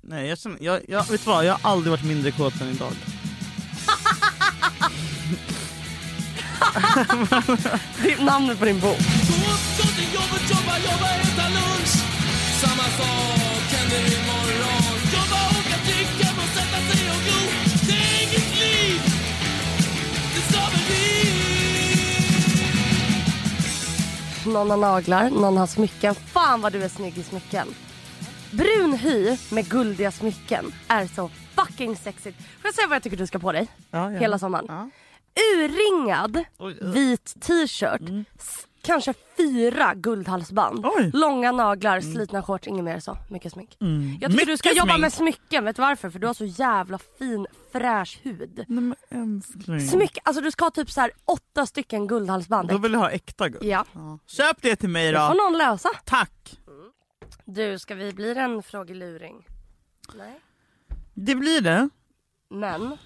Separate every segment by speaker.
Speaker 1: Nej jag känner, jag, jag, vet du vad, jag har aldrig varit mindre kåt än idag.
Speaker 2: Det är namnet på din bok.
Speaker 3: Gå upp, gå till jobbet, jobba, jobba, äta lunch. Samma sak händer imorgon. Jobba, åka, dricka, och sätta sig och gro. Det är inget liv, det ska väl vi.
Speaker 2: Någon har naglar, någon har smycken. Fan vad du är snygg i smycken. Brun hy med guldiga smycken är så fucking sexigt. Får jag säga vad jag tycker du ska på dig?
Speaker 1: Ja, ja.
Speaker 2: Hela sommaren.
Speaker 1: Ja.
Speaker 2: Urringad
Speaker 1: Oj, oj.
Speaker 2: vit t-shirt. s- Kanske fyra guldhalsband.
Speaker 1: Oj. Mm.
Speaker 2: Långa naglar, slitna shorts, inget mer så. Mycket smink. Jag tycker du ska
Speaker 1: Mycket
Speaker 2: jobba
Speaker 1: smink.
Speaker 2: med smycken. Vet du varför? För du har så jävla fin fräsch hud.
Speaker 1: Nej men älskling.
Speaker 2: Smyck, alltså du ska ha typ så här åtta stycken guldhalsband.
Speaker 1: Då vill jag ha äkta guld.
Speaker 2: Ja,
Speaker 1: Köp det till mig
Speaker 2: det får
Speaker 1: då.
Speaker 2: någon lösa.
Speaker 1: Tack.
Speaker 2: Du, ska vi bli en frågeluring? Nej.
Speaker 1: Det blir det.
Speaker 2: Men,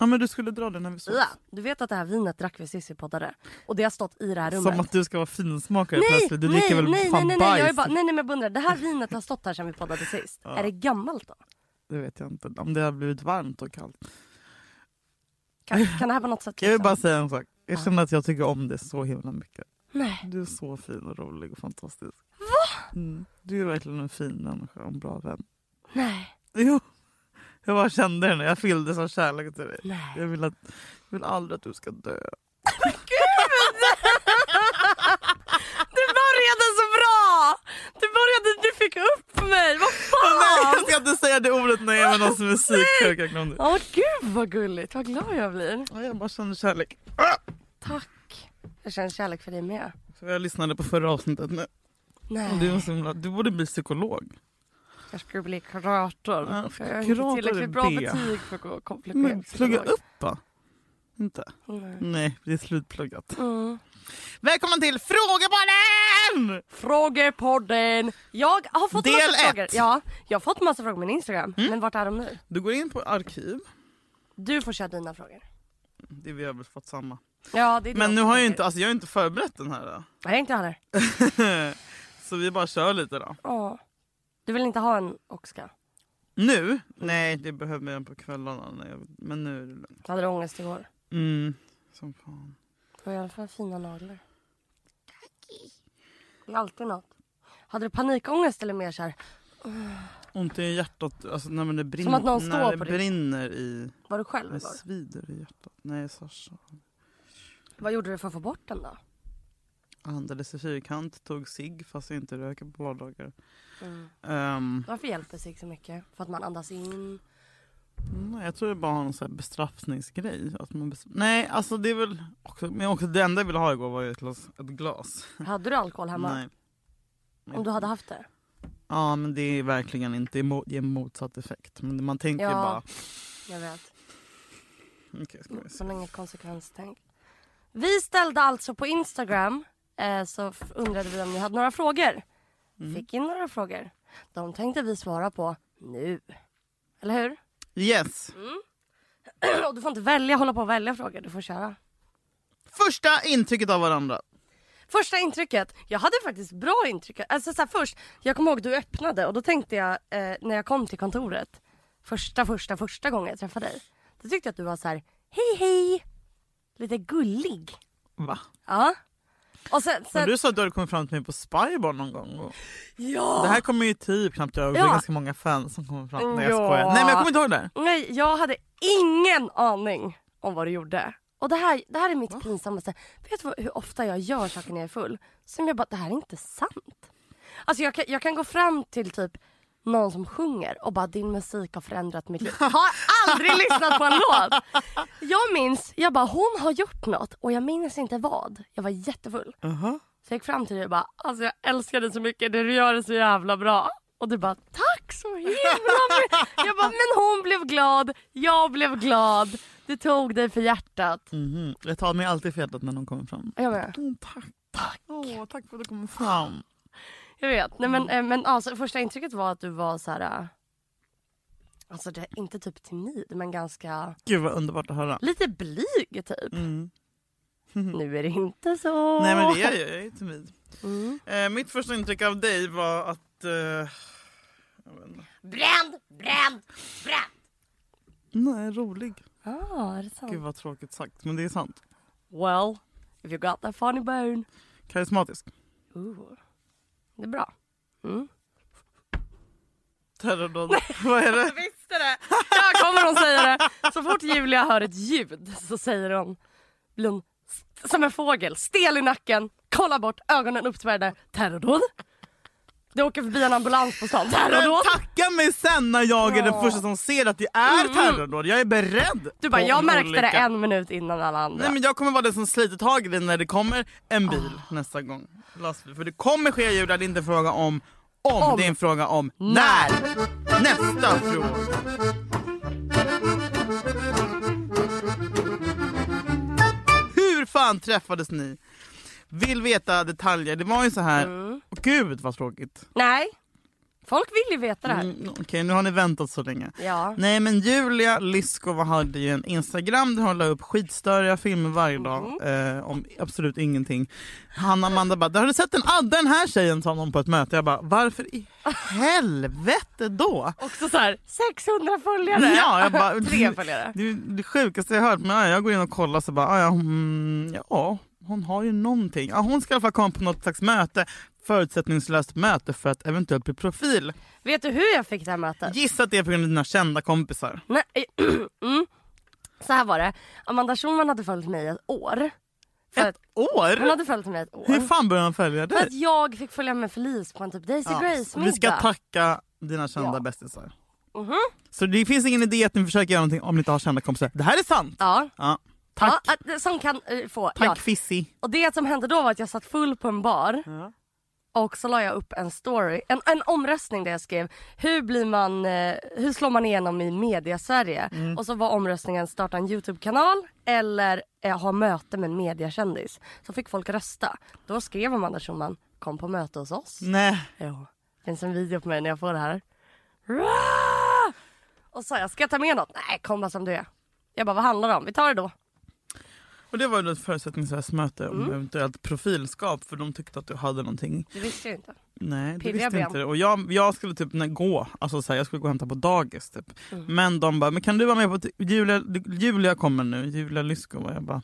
Speaker 1: Ja men du skulle dra den när vi sågs.
Speaker 2: ja, du vet att det här vinet drack vi sist vi poddade. Och det har stått i det här rummet.
Speaker 1: Som att du ska vara finsmakare
Speaker 2: Nej,
Speaker 1: plötsligt. Du
Speaker 2: nej,
Speaker 1: dricker
Speaker 2: nej,
Speaker 1: väl
Speaker 2: nej,
Speaker 1: fan
Speaker 2: nej, nej,
Speaker 1: bajs.
Speaker 2: jag är bara, nej, nej, men jag bara undrar, det här vinet har stått här sedan vi poddade sist. Är det gammalt då?
Speaker 1: Det vet jag inte. Om det har blivit varmt och kallt.
Speaker 2: Liksom. Kan, kan det här på något sätt...
Speaker 1: Jag vill
Speaker 2: liksom-
Speaker 1: bara säga en sak. Jag
Speaker 2: Ja.
Speaker 1: känner att jag tycker om det så himla mycket.
Speaker 2: Nej.
Speaker 1: Du är så fin och rolig och fantastisk. Va? Mm. Du är verkligen en fin människa och en bra vän.
Speaker 2: Nej.
Speaker 1: Jo. Jag bara kände det när jag fylldes av kärlek till dig.
Speaker 2: Nej.
Speaker 1: Jag vill, att, jag vill aldrig att du ska dö.
Speaker 2: Du började så bra! Du började, du fick upp mig, vad
Speaker 1: Nej,
Speaker 2: fan!
Speaker 1: jag ska inte säga det ordet när jag är med någon som är psyksjuk. Jag glömde.
Speaker 2: Åh gud vad gulligt, vad glad jag blir.
Speaker 1: Ja, Jag bara känner kärlek.
Speaker 2: Tack. Jag känner kärlek för dig med.
Speaker 1: För jag lyssnade på förra avsnittet nu.
Speaker 2: Nej,
Speaker 1: Du, är en så himla, du borde bli psykolog.
Speaker 2: jag skulle bli kurator.
Speaker 1: Ja,
Speaker 2: jag har inte
Speaker 1: kurator är
Speaker 2: tillräckligt bra
Speaker 1: det.
Speaker 2: betyg för att gå komplettera
Speaker 1: Men plugga upp va? Inte?
Speaker 2: Nej.
Speaker 1: Nej, det är slutpluggat.
Speaker 2: Mm.
Speaker 1: Välkommen till Fråga på den!
Speaker 2: Frågepodden! Jag har fått
Speaker 1: Del
Speaker 2: massa
Speaker 1: ett. Mm.
Speaker 2: frågor. Ja, jag har fått massa frågor på min Instagram. Men vart är de nu?
Speaker 1: Du går in på arkiv.
Speaker 2: Du får köra dina frågor.
Speaker 1: Det vi har väl fått samma.
Speaker 2: Ja, det är dina
Speaker 1: Men nu har jag ju
Speaker 2: frågor.
Speaker 1: inte, alltså jag har inte förberett den här. Då.
Speaker 2: Nej, inte jag heller.
Speaker 1: Så vi bara kör lite då.
Speaker 2: Åh. Du vill inte ha en oxka?
Speaker 1: Nu? Nej, det behöver jag på kvällarna. När jag, men nu är det lugnt.
Speaker 2: Hade du ångest igår?
Speaker 1: Mm, som fan.
Speaker 2: Du har i alla fall fina naglar. Det är alltid något. Hade du panikångest eller mer så här?
Speaker 1: Ont i hjärtat. Alltså när det brinner,
Speaker 2: Som att någon står
Speaker 1: när det
Speaker 2: på dig.
Speaker 1: brinner i...
Speaker 2: Var du själv
Speaker 1: När det
Speaker 2: igår?
Speaker 1: svider i hjärtat. Nej, Sasha.
Speaker 2: Vad gjorde du för att få bort den då?
Speaker 1: Andades i fyrkant, tog cigg fast jag inte röker på vardagar.
Speaker 2: Mm.
Speaker 1: Ehm,
Speaker 2: Varför hjälper sig så mycket? För att man andas in?
Speaker 1: Nej, jag tror det bara har någon sån här bestraffningsgrej. Att man bes- Nej, alltså det är väl... Också, men också det enda jag ville ha igår var ju ett glas. Ett glas.
Speaker 2: Hade du alkohol hemma?
Speaker 1: Nej.
Speaker 2: Om du hade haft det?
Speaker 1: Ja, men det är verkligen inte emot, det är motsatt effekt. Men man tänker
Speaker 2: Ja.
Speaker 1: ju bara...
Speaker 2: Jag vet.
Speaker 1: Okej, ska vi se.
Speaker 2: Som inget konsekvenstänk. Vi ställde alltså på Instagram eh, så f- undrade vi om ni hade några frågor. Fick in några frågor. De tänkte vi svara på nu. Eller hur?
Speaker 1: Yes!
Speaker 2: Och du får inte välja, hålla på och välja frågor. Du får köra.
Speaker 1: Första intrycket av varandra.
Speaker 2: Första intrycket. Jag hade faktiskt bra intryck. Alltså så här, först, jag kommer ihåg du öppnade och då tänkte jag eh, när jag kom till kontoret. Första, första, första gången jag träffade dig. Då tyckte jag att du var så här, hej hej. Lite gullig.
Speaker 1: Va?
Speaker 2: Ja. Och sen,
Speaker 1: Men
Speaker 2: sen,
Speaker 1: du sa att du hade kommit fram till mig på Spybar någon gång. Och
Speaker 2: ja.
Speaker 1: det här kommer ju typ knappt jag ihåg. Det
Speaker 2: Ja.
Speaker 1: är ganska många fans som kommer fram. Nej, jag
Speaker 2: Ja.
Speaker 1: skojar. Nej, men jag kommer inte ihåg det. där.
Speaker 2: Nej, jag hade ingen aning om vad du gjorde. Och det här, det här är mitt pinsammaste. Vet du vad, hur ofta jag gör saker när jag är full? Som jag bara, det här är inte sant. Alltså jag kan, jag kan gå fram till typ någon som sjunger och bara din musik har förändrat mitt liv. Har aldrig lyssnat på en låt. Jag minns, jag bara hon har gjort något och jag minns inte vad. Jag var jättefull.
Speaker 1: Jaha.
Speaker 2: Så jag gick fram till dig och bara, alltså jag älskar dig så mycket, det du gör är så jävla bra. Och du bara, tack så himla mycket. Jag bara, men hon blev glad, jag blev glad, du tog dig för hjärtat.
Speaker 1: Mhm. Jag tar mig alltid för hjärtat när någon kommer fram.
Speaker 2: Jag med.
Speaker 1: Åh, tack. Tack. Åh, tack för att du kom fram.
Speaker 2: Jag vet, nej men, eh, men alltså första intrycket var att du var så här. eh, Alltså det, inte typ timid men ganska,
Speaker 1: Gud vad underbart att höra.
Speaker 2: lite blyg typ.
Speaker 1: Mm.
Speaker 2: Nu är det inte så.
Speaker 1: Nej men det är jag ju, jag är timid.
Speaker 2: Mm.
Speaker 1: Eh, mitt första intryck av dig var att eh, Jag vet inte.
Speaker 2: Bränd, bränd, bränd.
Speaker 1: Nej, rolig.
Speaker 2: Ah, är det sant?
Speaker 1: Gud vad tråkigt sagt, men det är sant.
Speaker 2: Well, if you got that funny bone.
Speaker 1: Karismatisk.
Speaker 2: Ooh. Det är bra.
Speaker 1: Terrordåd. vad är det?
Speaker 2: Visste det! Där kommer hon säga det. Så fort Julia hör ett ljud så säger hon, blir hon st- som en fågel, stel i nacken, kollar bort, ögonen uppspärrade. Terrordåd. Det åker förbi en ambulans på stan.
Speaker 1: Men
Speaker 2: Terrordåd.
Speaker 1: tacka mig sen när jag är den första som ser att det är terrordåd. Jag är beredd.
Speaker 2: Mm, Du bara,
Speaker 1: på
Speaker 2: jag märkte
Speaker 1: olika-
Speaker 2: det en minut innan alla andra.
Speaker 1: Nej men jag kommer vara den som sliter tag i det när det kommer en bil nästa gång. Lastbil. För det kommer ske ljud, det är inte en fråga om om,
Speaker 2: Om.
Speaker 1: det är en fråga om när.
Speaker 2: När.
Speaker 1: Nästa fråga. Hur fan träffades ni? Vill veta detaljer. Det var ju så här.
Speaker 2: Mm.
Speaker 1: Åh, Gud vad tråkigt.
Speaker 2: Nej. Folk vill ju veta det här.
Speaker 1: Mm, Okej, nu har ni väntat så länge.
Speaker 2: Ja.
Speaker 1: Nej men Julia Lyskova hade ju en Instagram där hon la upp skitstöriga filmer varje dag
Speaker 2: Mhm.
Speaker 1: eh, om absolut ingenting. Hanna Amanda bara, har du sett den? Ah, den här tjejen sa någon på ett möte. Jag bara, varför i helvete då?
Speaker 2: Också så här, 600 följare.
Speaker 1: Ja, jag bara-
Speaker 2: Tre följare.
Speaker 1: Det, är det sjukaste jag hört, men ja, jag går in och kollar så bara, ah, ja, mm, ja hon har ju någonting. Ja, hon ska i alla fall komma på något slags möte, förutsättningslöst möte för att eventuellt bli profil.
Speaker 2: Vet du hur jag fick det här mötet?
Speaker 1: Gissa att det är på grund av dina kända kompisar.
Speaker 2: Nej. mm. Så här var det. Amanda Schulman hade följt mig ett år. För
Speaker 1: Ett
Speaker 2: att, hon
Speaker 1: år?
Speaker 2: hade följt mig ett år.
Speaker 1: Hur fan började hon följa dig?
Speaker 2: För att jag fick följa med Felice på en typ Daisy
Speaker 1: Ja,
Speaker 2: Grace
Speaker 1: Vi ska
Speaker 2: middag.
Speaker 1: tacka dina kända
Speaker 2: Ja.
Speaker 1: bästisar.
Speaker 2: Mhm.
Speaker 1: Så det finns ingen idé att ni försöker göra någonting om ni inte har kända kompisar. Det här är sant!
Speaker 2: Ja.
Speaker 1: Ja.
Speaker 2: Ja,
Speaker 1: Tack,
Speaker 2: att- som kan eh, få.
Speaker 1: tack
Speaker 2: Ja.
Speaker 1: Fissi.
Speaker 2: Och det som hände då var att jag satt full på en bar och så la jag upp en story, en, en omröstning där jag skrev hur blir man, eh, hur slår man igenom i media-Sverige?
Speaker 1: Mm.
Speaker 2: Och så var omröstningen starta en YouTube-kanal eller eh, ha möte med en mediakändis. Så fick folk rösta. Då skrev Amanda Schulman, kom på möte hos oss.
Speaker 1: Nej.
Speaker 2: Jo, det finns en video på mig när jag får det här. Hurra! Och så sa jag, ska jag ta med något? Nej, kom bara som du är. Jag bara, vad handlar det om? Vi tar det då.
Speaker 1: Och det var ju då ett förutsättningslöst möte
Speaker 2: Mm.
Speaker 1: om eventuellt profilskap för de tyckte att du hade någonting.
Speaker 2: Det visste jag inte.
Speaker 1: Nej, det
Speaker 2: Pirriga
Speaker 1: visste
Speaker 2: ben.
Speaker 1: inte det. Och jag, jag skulle typ när- gå, alltså så här, jag skulle gå och hämta på dagis typ.
Speaker 2: Mm.
Speaker 1: Men de bara, men kan du vara med på, t- Julia, Julia kommer nu, Julia Lyskova. Jag bara,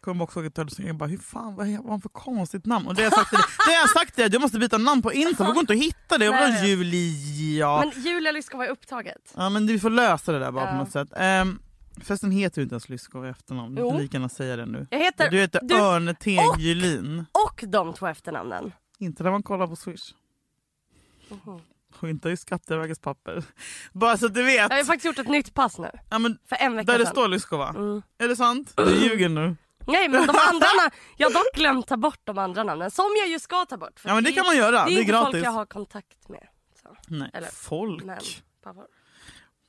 Speaker 1: kommer också åka till Ödeshög. Jag bara, hur fan, vad är vad har han för konstigt namn? Och det har jag sagt till dig, det har jag sagt till dig, att jag måste byta namn på Insta, det går inte att hitta det. Jag
Speaker 2: Nej,
Speaker 1: bara,
Speaker 2: jag
Speaker 1: Julia.
Speaker 2: Men Julia Lyskova är upptaget.
Speaker 1: Ja men du får lösa det där bara på
Speaker 2: Ja.
Speaker 1: något sätt. Ehm, förresten heter du inte ens Lyskov i efternamn, du
Speaker 2: Jo.
Speaker 1: kan lika gärna säga det nu.
Speaker 2: Jag heter
Speaker 1: Du heter
Speaker 2: du-
Speaker 1: Örne Tegelin.
Speaker 2: och de två efternamnen.
Speaker 1: Inte när man kollar på Swish. Och inte i Skatteverkets papper. Bara så att du vet.
Speaker 2: Jag har faktiskt gjort ett nytt pass nu.
Speaker 1: Ja, men
Speaker 2: För en vecka
Speaker 1: där det
Speaker 2: sedan. Mm.
Speaker 1: står Lyskova. Är det sant? Du ljuger nu.
Speaker 2: Nej men de andra namn- Jag har dock glömt ta bort de andra namnen. Som jag ju ska ta bort. För
Speaker 1: Ja men det kan man göra,
Speaker 2: Det är,
Speaker 1: det är
Speaker 2: inte
Speaker 1: gratis.
Speaker 2: folk jag har kontakt med. Så.
Speaker 1: Nej,
Speaker 2: Eller-
Speaker 1: folk.
Speaker 2: Men, pappor.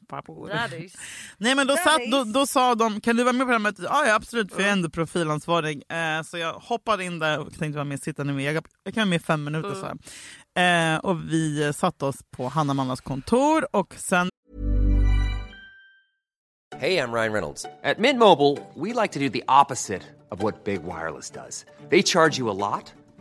Speaker 1: Pappor.
Speaker 2: Daddies.
Speaker 1: Nej men då,
Speaker 2: Där
Speaker 1: satt,
Speaker 2: är
Speaker 1: då,
Speaker 2: is.
Speaker 1: då sa de, kan du vara med på det här mötet? Ja, ja absolut för jag är
Speaker 2: Mm.
Speaker 1: ändå profilansvarig. Eh, så jag hoppade in där och tänkte vara med, sitta nu med. Jag, jag kan vara med i fem
Speaker 2: Mm.
Speaker 1: minuter så här. Eh, och vi eh, satte oss på Hanna Mannas kontor och sen
Speaker 4: Hey, I'm Ryan Reynolds. At Mint Mobile, we like to do the opposite of what Big Wireless does. They charge you a lot,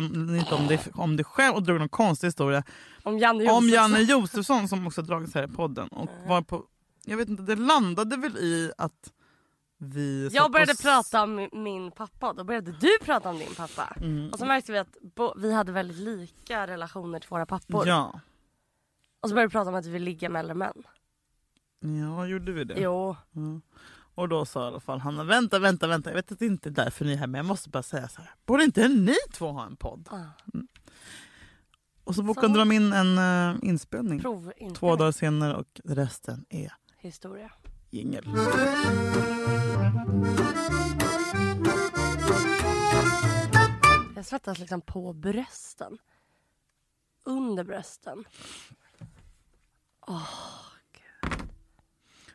Speaker 1: lite om dig, om dig själv och drog någon konstig historia
Speaker 2: Om Janne
Speaker 1: om
Speaker 2: Josefsson. Eh.
Speaker 1: Janne Josefsson som också dragits här i podden. Och var på, jag vet inte, det landade väl i att vi satt
Speaker 2: Jag började
Speaker 1: oss-
Speaker 2: prata om mi- min pappa och då började du prata om din pappa.
Speaker 1: Mm.
Speaker 2: Och så märkte vi att bo- vi hade väldigt lika relationer till våra pappor.
Speaker 1: Ja.
Speaker 2: Och så började vi prata om att vi vill ligga med äldre män.
Speaker 1: ja, gjorde vi det?
Speaker 2: Jo.
Speaker 1: Och då sa i alla fall Hanna, vänta, vänta, vänta, jag vet att det inte är därför ni är här men jag måste bara säga så här. Borde inte ni två ha en podd? Mm. Och så bokade
Speaker 2: Ah. Så.
Speaker 1: de in en eh, inspelning
Speaker 2: Prov inte.
Speaker 1: två dagar senare och resten är
Speaker 2: Historia.
Speaker 1: jingel.
Speaker 2: Jag svettas liksom på brösten. Under brösten.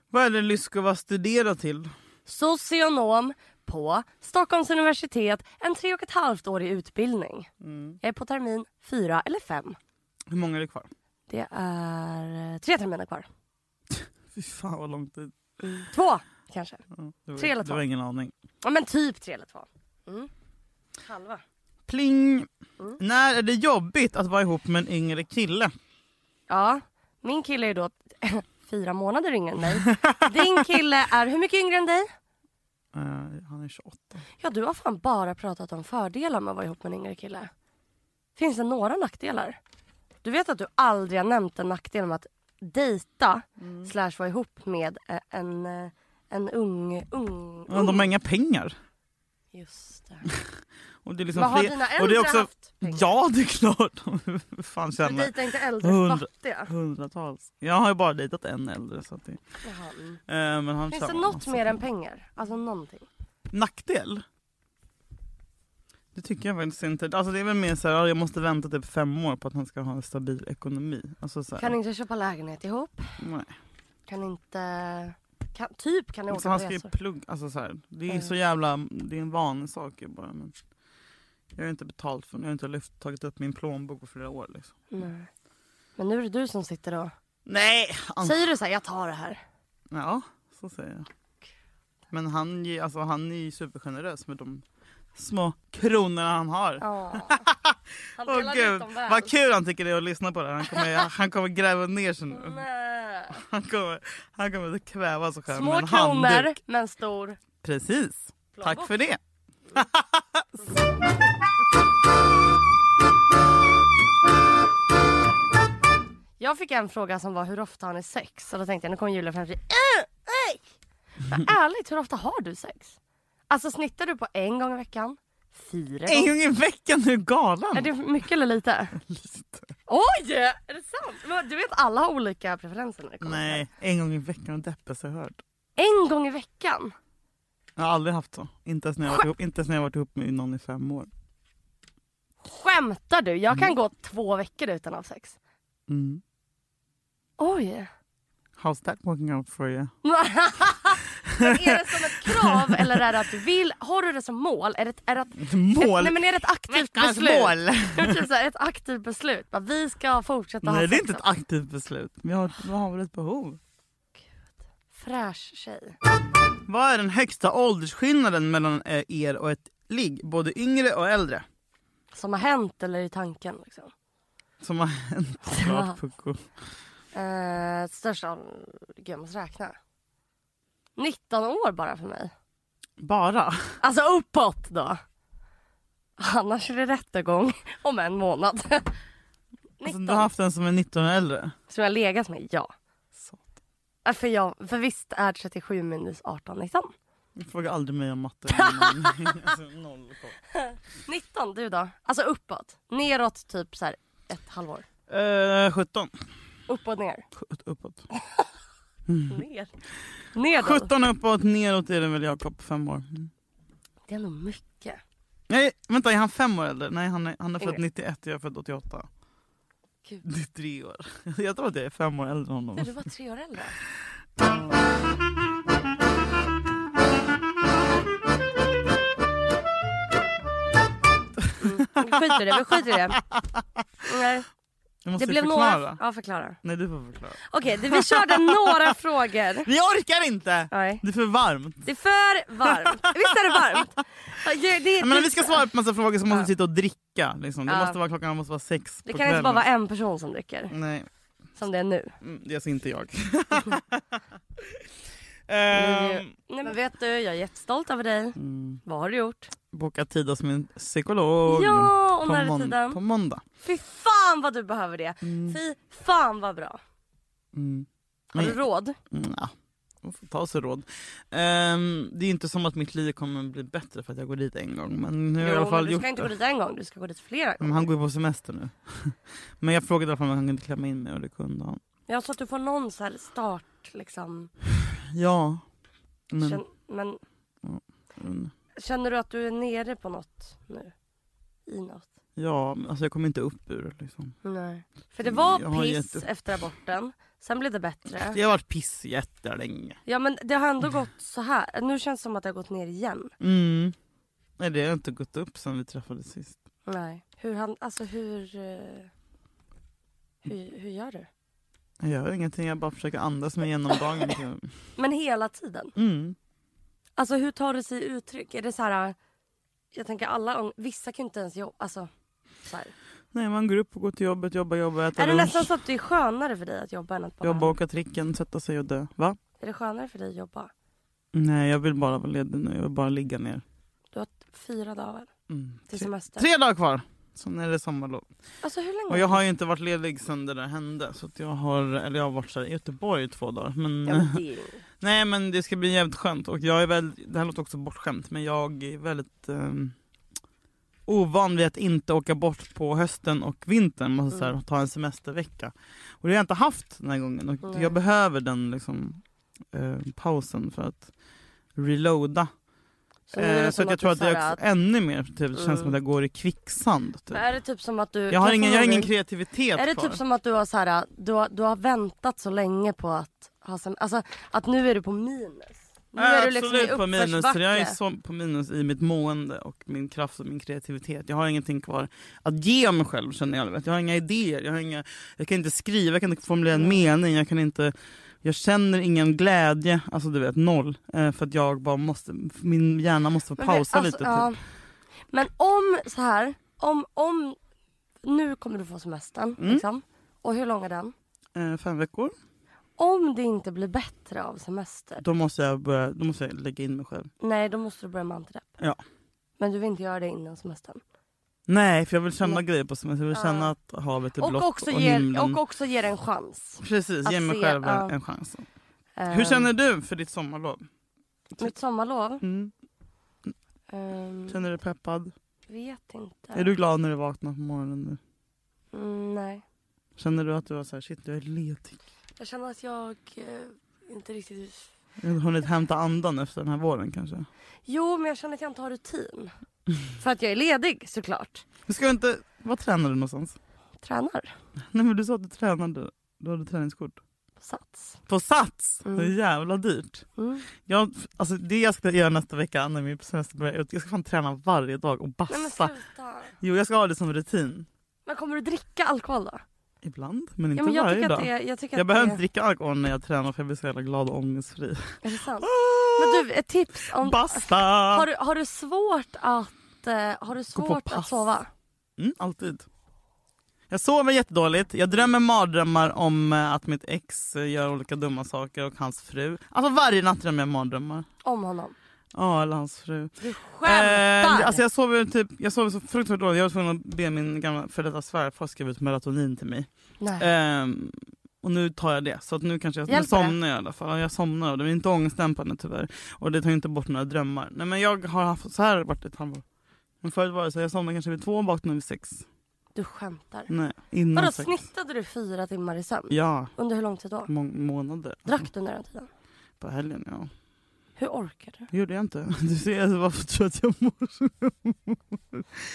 Speaker 1: Vad är det Lyskova studerar till?
Speaker 2: Socionom på Stockholms universitet. En tre och ett halvt årig utbildning.
Speaker 1: Mm.
Speaker 2: Jag är på termin fyra eller fem.
Speaker 1: Hur många är det kvar?
Speaker 2: Det är eh, tre terminer kvar.
Speaker 1: Fy fan vad lång tid.
Speaker 2: Två kanske.
Speaker 1: Det var,
Speaker 2: Tre eller
Speaker 1: det
Speaker 2: två.
Speaker 1: var ingen aning.
Speaker 2: Ja men typ tre eller två. Mm. Halva.
Speaker 1: Pling!
Speaker 2: Mm.
Speaker 1: När är det jobbigt att vara ihop med en yngre kille?
Speaker 2: Ja, min kille är då fyra månader yngre än dig. Din kille är hur mycket yngre än dig?
Speaker 1: Eh, han är 28.
Speaker 2: Ja, du har fan bara pratat om fördelar med att vara ihop med en yngre kille. Finns det några nackdelar? Du vet att du aldrig har nämnt en nackdel med att dejta
Speaker 1: Mm.
Speaker 2: slash vara ihop med eh, en, eh, en ung... ung,
Speaker 1: Men
Speaker 2: ung.
Speaker 1: de har inga pengar.
Speaker 2: Just det.
Speaker 1: Och det är liksom
Speaker 2: Vad har
Speaker 1: fler-
Speaker 2: dina
Speaker 1: och det
Speaker 2: äldre
Speaker 1: är också...
Speaker 2: haft? pengar?
Speaker 1: Ja, det är klart. Hur fan
Speaker 2: Du
Speaker 1: känner
Speaker 2: dejtar inte äldre
Speaker 1: Hundra-
Speaker 2: fattiga.
Speaker 1: Hundratals. Jag har ju bara dejtat en äldre. Så att det, eh,
Speaker 2: Jaha, mm.
Speaker 1: men han
Speaker 2: Finns det
Speaker 1: tjänar
Speaker 2: något
Speaker 1: massa
Speaker 2: mer än
Speaker 1: pengar.
Speaker 2: pengar? Alltså någonting.
Speaker 1: Nackdel? Det tycker jag faktiskt inte. Alltså det är väl mer så här, ja, jag måste vänta typ fem år på att han ska ha en stabil ekonomi. Alltså så här,
Speaker 2: Kan inte köpa lägenhet ihop.
Speaker 1: nej.
Speaker 2: Kan inte... Kan, typ kan ni
Speaker 1: Så
Speaker 2: åka på
Speaker 1: han Liksom ska ju
Speaker 2: resor.
Speaker 1: plugga. Alltså så här, det är
Speaker 2: Ja.
Speaker 1: så jävla, det är en vanesak ju bara. Men jag har inte betalt för jag har inte lyft, tagit upp min plånbok på flera år. Liksom.
Speaker 2: Nej. Men nu är det du som sitter och...
Speaker 1: Nej! An-
Speaker 2: Säger du så här, jag tar det här.
Speaker 1: ja, så säger jag. Men han, ge- alltså, han är ju supergenerös med de små kronorna han har.
Speaker 2: Han
Speaker 1: Åh
Speaker 2: delar ut
Speaker 1: gud,
Speaker 2: dem väl.
Speaker 1: vad kul han tycker det är att lyssna på det här. Han kommer, han kommer gräva ner sig
Speaker 2: Mm.
Speaker 1: nu.
Speaker 2: Nej.
Speaker 1: Han kommer, han kommer att kväva sig själv
Speaker 2: Små
Speaker 1: med en handduk.
Speaker 2: kronor men stor
Speaker 1: Precis,
Speaker 2: plånbok.
Speaker 1: tack för det.
Speaker 2: Jag fick en fråga som var hur ofta har ni sex? Och då tänkte jag nu kommer Julia fram till "Äh, ej." Men ärligt, hur ofta har du sex? Alltså snittar du på en gång i veckan? Fyra
Speaker 1: En
Speaker 2: gånger?
Speaker 1: gång i veckan, du är
Speaker 2: Är
Speaker 1: galen.
Speaker 2: det mycket eller lite? Oj! Är det sant? Men Du vet alla har olika preferenser när det kommer till
Speaker 1: Nej, en gång i veckan och deppes jag hört.
Speaker 2: det. En gång i veckan?
Speaker 1: Jag har aldrig haft så. Inte ens när jag varit ihop, inte ens när jag varit ihop med någon i fem år.
Speaker 2: Skämtar du? Jag kan gå två veckor utan att ha sex.
Speaker 1: Mm.
Speaker 2: Oj!
Speaker 1: How's that working out for you?
Speaker 2: Men är det som ett krav eller är det att du vill? Har du det som mål? Är det, är det, att,
Speaker 1: Mål!
Speaker 2: Ett, nej men är det ett aktivt
Speaker 1: Veckans
Speaker 2: beslut?
Speaker 1: mål.
Speaker 2: Ja, men typ så här, ett aktivt beslut. Bara, vi ska fortsätta ha
Speaker 1: Nej, det är
Speaker 2: sex
Speaker 1: inte ett
Speaker 2: också.
Speaker 1: aktivt beslut. Vi har, vi har väl ett behov.
Speaker 2: Fräsch tjej.
Speaker 1: Vad är den högsta åldersskillnaden mellan eh, er och ett ligg? Både yngre och äldre.
Speaker 2: Som har hänt eller i tanken. Liksom.
Speaker 1: Som har hänt. Klart, pucko.
Speaker 2: Eh, största... Gud jag måste räkna. 19 år bara för mig.
Speaker 1: Bara?
Speaker 2: Alltså uppåt då. Annars är det rättegång om en månad. 19.
Speaker 1: Alltså, du har haft en som är 19 år äldre?
Speaker 2: Som jag har legat med, ja. Ja, För, jag, för visst är 37 minus 18 19?
Speaker 1: Du frågar aldrig mig om matte. Men- alltså, noll koll.
Speaker 2: 19, du då? Alltså uppåt. Neråt typ så här ett halvår.
Speaker 1: Eh, 17.
Speaker 2: Upp och ner.
Speaker 1: Sju- Uppåt.
Speaker 2: Ner. Ner då.
Speaker 1: 17 uppåt, neråt är det väl Jakob, fem år. Mm.
Speaker 2: Det är nog mycket.
Speaker 1: Nej, vänta, är han fem år äldre? Nej, han är, han är född
Speaker 2: Yngre.
Speaker 1: 91 och jag är född 88.
Speaker 2: Gud.
Speaker 1: Det är tre år. Jag tror att jag är fem år äldre än honom.
Speaker 2: Nej, Du var tre år äldre. Mm. Vi skiter i det. Vi skiter i det. Nej,
Speaker 1: Jag måste
Speaker 2: det blev
Speaker 1: förklara.
Speaker 2: några... Ja, förklara.
Speaker 1: Nej, du får förklara.
Speaker 2: Okej, det- vi körde några frågor.
Speaker 1: Vi orkar inte!
Speaker 2: Nej.
Speaker 1: Det är för varmt.
Speaker 2: Det är för varmt. Visst är det varmt? Ja, Det, det,
Speaker 1: Men om vi ska svara på massa frågor så måste vi sitta och dricka. Liksom. Det
Speaker 2: Ja.
Speaker 1: måste vara, klockan måste vara sex
Speaker 2: det
Speaker 1: på
Speaker 2: kan inte
Speaker 1: kvällen.
Speaker 2: bara vara en person som dricker,
Speaker 1: Nej,
Speaker 2: som det är nu.
Speaker 1: mm, det är alltså inte jag.
Speaker 2: är ju-
Speaker 1: Ehm,
Speaker 2: Nej, men vet du, jag är jättestolt över dig.
Speaker 1: mm,
Speaker 2: Vad har du gjort?
Speaker 1: boka tid hos min psykolog.
Speaker 2: Ja, och
Speaker 1: på,
Speaker 2: när är
Speaker 1: mån-
Speaker 2: tiden?
Speaker 1: på måndag.
Speaker 2: Fy fan vad du behöver det. Fy fan vad bra.
Speaker 1: Mm.
Speaker 2: Har du
Speaker 1: Nej.
Speaker 2: råd?
Speaker 1: Mm, ja. Man får ta sig råd. Ehm, det är inte som att mitt liv kommer bli bättre för att jag går dit en gång. Men nu har jag i alla
Speaker 2: men
Speaker 1: fall
Speaker 2: du
Speaker 1: gjort
Speaker 2: ska inte gå
Speaker 1: det.
Speaker 2: dit en gång, du ska gå dit flera
Speaker 1: Men
Speaker 2: gånger.
Speaker 1: han går ju på semester nu. men jag frågade i alla fall om han kunde klämma in mig och det kunde han.
Speaker 2: Jag sa att du får någon så här start liksom.
Speaker 1: Ja. Men,
Speaker 2: Känn, men
Speaker 1: mm.
Speaker 2: känner du att du är nere på något nu? I något?
Speaker 1: Ja, men alltså jag kom inte upp ur det. Liksom.
Speaker 2: Nej. För det var
Speaker 1: Jag har
Speaker 2: piss
Speaker 1: gett upp.
Speaker 2: efter aborten. Sen blev det bättre.
Speaker 1: Det har varit piss jättelänge.
Speaker 2: Ja men det har ändå gått så här. Nu känns det som att det har gått ner igen.
Speaker 1: Mm. Nej, det har inte gått upp sen vi träffades sist.
Speaker 2: Nej. Hur han, alltså hur... eh, Hur, hur gör du?
Speaker 1: Jag gör ingenting, jag bara försöker andas mig igenom dagen. typ.
Speaker 2: Men hela tiden?
Speaker 1: Mm.
Speaker 2: Alltså hur tar det sig uttryck? Är det så här... Jag tänker alla, ång- vissa kan ju inte ens jobba, alltså. Så här.
Speaker 1: Nej, man går upp och går till jobbet, jobbar, jobbar, äter
Speaker 2: Är det
Speaker 1: lunch.
Speaker 2: nästan så att det är skönare för dig att jobba än att bara...
Speaker 1: Jobba, åka tricken, sätta sig och dö. Va?
Speaker 2: Är det skönare för dig att jobba?
Speaker 1: Nej, jag vill bara vara ledig nu. Jag vill bara ligga ner.
Speaker 2: Du har t- fyra dagar
Speaker 1: Mm.
Speaker 2: till
Speaker 1: Tre,
Speaker 2: semester.
Speaker 1: tre dagar kvar! Sen är det sommarlov.
Speaker 2: Alltså hur länge?
Speaker 1: Och jag har ju inte varit ledig sen det där hände. Så att jag har, eller jag har varit så här i Göteborg i två dagar. Men,
Speaker 2: Ja, men det är ju...
Speaker 1: Nej men det ska bli jävligt skönt. Och jag är väl, det här låter också bortskämt men jag är väldigt ehm, ovan vid att inte åka bort på hösten och vintern. Alltså, så
Speaker 2: Mm.
Speaker 1: här, ta en semestervecka. Och det har jag inte haft den här gången. Och
Speaker 2: Nej.
Speaker 1: jag behöver den liksom, eh, pausen för att reloada.
Speaker 2: nu är det
Speaker 1: Eh, så
Speaker 2: som
Speaker 1: att jag
Speaker 2: du
Speaker 1: tror att
Speaker 2: så
Speaker 1: jag
Speaker 2: här
Speaker 1: också, ännu mer typ, det känns som
Speaker 2: Mm.
Speaker 1: att jag går i kvicksand. Typ.
Speaker 2: Men är det typ som att du...
Speaker 1: Jag har
Speaker 2: kan
Speaker 1: ingen,
Speaker 2: få
Speaker 1: jag har
Speaker 2: någon-
Speaker 1: ingen kreativitet
Speaker 2: Är det
Speaker 1: kvar.
Speaker 2: typ som att du har, så här, du har, du har väntat så länge på att ha sen, alltså att nu är du på minus? Nu är du liksom i
Speaker 1: Absolut på minus.
Speaker 2: uppförsbacke.
Speaker 1: för Jag är så på minus i mitt mående och min kraft och min kreativitet. Jag har ingenting kvar att ge mig själv känner jag. Vet. Jag har inga idéer, jag, har inga, jag kan inte skriva, jag kan inte formulera
Speaker 2: Mm.
Speaker 1: en mening. Jag, kan inte, jag känner ingen glädje, alltså du vet noll. Eh, för att jag bara måste, min hjärna måste få
Speaker 2: Men
Speaker 1: pausa
Speaker 2: alltså,
Speaker 1: lite. Typ.
Speaker 2: ja. Men om så här, om, om, nu kommer du få semestern
Speaker 1: Mm.
Speaker 2: liksom. Och hur lång är den?
Speaker 1: Eh, fem veckor.
Speaker 2: Om det inte blir bättre av semester,
Speaker 1: Då måste, jag börja, då måste jag lägga in mig själv.
Speaker 2: nej då måste du börja med antirep.
Speaker 1: Ja.
Speaker 2: Men du vill inte göra det innan semestern.
Speaker 1: Nej, för jag vill känna grejer på semester. Jag vill känna att havet är blått
Speaker 2: Och
Speaker 1: och,
Speaker 2: också,
Speaker 1: himlen.
Speaker 2: ger, och också ger en chans.
Speaker 1: Precis,
Speaker 2: att
Speaker 1: ge mig
Speaker 2: se,
Speaker 1: själv en-
Speaker 2: ja.
Speaker 1: en chans.
Speaker 2: Eh,
Speaker 1: Hur känner du för ditt sommarlov?
Speaker 2: Mitt sommarlov?
Speaker 1: Mm.
Speaker 2: Ehm,
Speaker 1: Känner du dig peppad?
Speaker 2: vet inte.
Speaker 1: Är du glad när du vaknar på morgonen nu?
Speaker 2: Mm, nej.
Speaker 1: Känner du att du var så här, shit jag är ledig?
Speaker 2: Jag känner att jag eh, inte riktigt...
Speaker 1: Jag har hunnit hämta andan efter den här våren kanske?
Speaker 2: Jo, men jag känner att jag inte har rutin. För att jag är ledig såklart.
Speaker 1: Men Ska du inte, vad tränar du någonstans?
Speaker 2: Tränar.
Speaker 1: Nej men du sa att du tränade, du hade träningskort.
Speaker 2: på Sats.
Speaker 1: På Sats!
Speaker 2: Mm.
Speaker 1: Det är jävla dyrt.
Speaker 2: Mm.
Speaker 1: Jag, alltså, det jag ska göra nästa vecka när min semester börjar, jag ska fan träna varje dag och
Speaker 2: Nej men
Speaker 1: basta.
Speaker 2: sluta.
Speaker 1: Jo jag ska ha det som rutin.
Speaker 2: Men kommer du dricka alkohol då?
Speaker 1: Ibland, men inte
Speaker 2: Ja, men jag
Speaker 1: varje
Speaker 2: tycker att
Speaker 1: dag.
Speaker 2: det är... Jag, tycker
Speaker 1: Jag
Speaker 2: att
Speaker 1: behöver
Speaker 2: det
Speaker 1: inte dricka alkohol när jag tränar för jag blir så jävla glad och ångestfri.
Speaker 2: Är det sant? Ah! Men du, ett tips om...
Speaker 1: Basta!
Speaker 2: Har, du- har du svårt att... eh, Har du
Speaker 1: på
Speaker 2: svårt att
Speaker 1: pass.
Speaker 2: sova?
Speaker 1: Mm, alltid. Jag sover jättedåligt, jag drömmer mardrömmar om eh, att mitt ex eh, gör olika dumma saker och hans fru. Alltså varje natt drömmer jag mardrömmar.
Speaker 2: Om honom?
Speaker 1: Ja, eller hans fru.
Speaker 2: Du skämtar!
Speaker 1: Eh, alltså jag sover typ, jag sover så fruktansvärt dåligt. Jag var tvungen att be min gamla före detta svärfar skriva ut melatonin till mig.
Speaker 2: Nej.
Speaker 1: Ehm, och nu tar jag det. Så att nu kanske jag nu
Speaker 2: Eh, Hjälper det?
Speaker 1: somnar jag i alla fall. Ja, Jag somnar och det är inte ångestdämpande tyvärr. Och det tar ju inte bort några drömmar. Nej men jag har haft så här varit ett halvår. Men förut var det så här, jag somnade kanske vid två och vaknade vid sex.
Speaker 2: Du skämtar.
Speaker 1: Nej, innan
Speaker 2: Vadå,
Speaker 1: sex.
Speaker 2: snittade du fyra timmar i sömn?
Speaker 1: Mm, Ja, Mm.
Speaker 2: Under hur lång tid då?
Speaker 1: må månader.
Speaker 2: Drack du under den tiden?
Speaker 1: På helgen ja.
Speaker 2: Hur orkar du?
Speaker 1: Det gjorde jag inte. Du ser alltså, varför tror jag att jag mår så?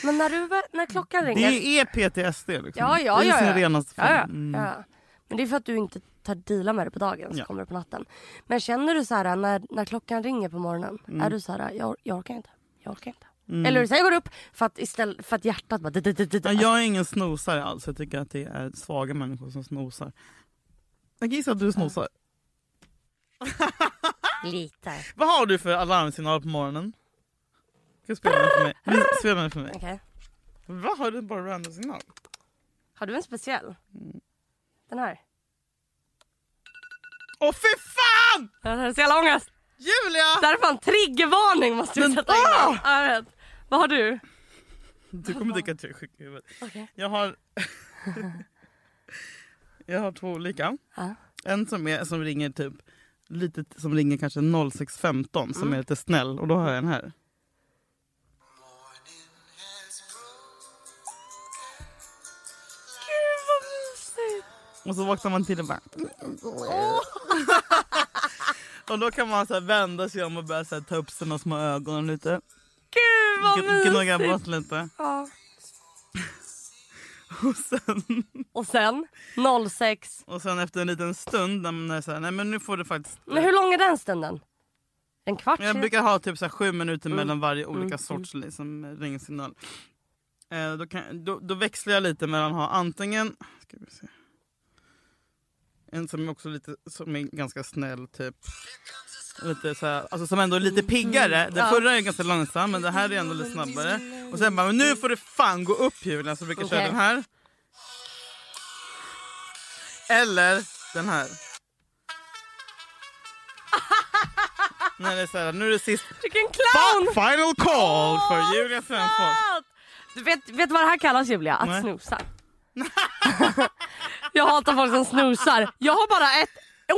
Speaker 2: Men när, du, vä- när klockan ringer...
Speaker 1: Det är PTSD liksom.
Speaker 2: Ja, ja,
Speaker 1: det är
Speaker 2: ja,
Speaker 1: sin
Speaker 2: ja.
Speaker 1: renaste
Speaker 2: Ja, ja,
Speaker 1: form. Mm.
Speaker 2: ja. Men det är för att du inte tar deala med det på dagen så
Speaker 1: Ja.
Speaker 2: kommer det på natten. Men känner du så här när, när klockan ringer på morgonen,
Speaker 1: Mm.
Speaker 2: är du så här, jag, jag orkar inte, jag orkar inte. Eller du säger går upp för att, istället, för att hjärtat bara... d- d- d- d-
Speaker 1: Ja,
Speaker 2: alltså,
Speaker 1: jag är ingen snosare alls. Jag tycker att det är svaga människor som snosar. Jag gissar att du snosar.
Speaker 2: Lite.
Speaker 1: Vad har du för alarmsignal på morgonen? Ska jag spela den för mig? Vi- Spela den för mig.
Speaker 2: Okej.
Speaker 1: Vad har du bara random signal?
Speaker 2: Har du en speciell?
Speaker 1: Mm.
Speaker 2: Den här.
Speaker 1: Åh fy fan!
Speaker 2: Den här är så jävla ångest.
Speaker 1: Julia!
Speaker 2: Därför en triggervarning måste vi
Speaker 1: Men-
Speaker 2: sätta in.
Speaker 1: Ah!
Speaker 2: Ja, jag vet. Vad har du?
Speaker 1: Du kommer tycka att jag är sjuk i huvudet.
Speaker 2: Okej.
Speaker 1: Jag har... jag har två olika.
Speaker 2: Ja.
Speaker 1: En som, är, som ringer typ lite, som ringer kanske 06.15
Speaker 2: Mm.
Speaker 1: som är lite snäll och då har jag den här.
Speaker 2: Gud vad mysigt.
Speaker 1: Och så vaknar man till och bara... och då kan man så här vända sig om och börja så här ta upp sina små ögon lite.
Speaker 2: Gud vad
Speaker 1: Gn- Gnugga
Speaker 2: mysigt.
Speaker 1: bort lite.
Speaker 2: Ja.
Speaker 1: Och sen,
Speaker 2: Och sen 06.
Speaker 1: och sen efter en liten stund när man är så här, nej men nu får du faktiskt...
Speaker 2: Men hur lång är den stunden? En kvart?
Speaker 1: Jag
Speaker 2: cirka?
Speaker 1: brukar ha typ så här sju minuter mellan varje olika sorts liksom, ringsignal. Eh, då, kan, då, då växlar jag lite mellan att ha antingen... Ska vi se. En som är också lite, som är ganska snäll typ. Lite så här, alltså som ändå är lite piggare. Den förra är ganska långsam Mm, men det här är ändå lite snabbare. Och sen bara, "Men nu får du fan gå upp Julia. Så brukar jag köra
Speaker 2: Okej.
Speaker 1: den här. Eller den här. När det är så här, nu är det sist.
Speaker 2: Vilken clown!
Speaker 1: Fi- Final call
Speaker 2: Åh,
Speaker 1: för Julia Frändfors.
Speaker 2: Fan! Du vet, vet du vad det här kallas Julia? Att
Speaker 1: Nej.
Speaker 2: snusa. jag hatar folk som snusar. Jag har bara ett,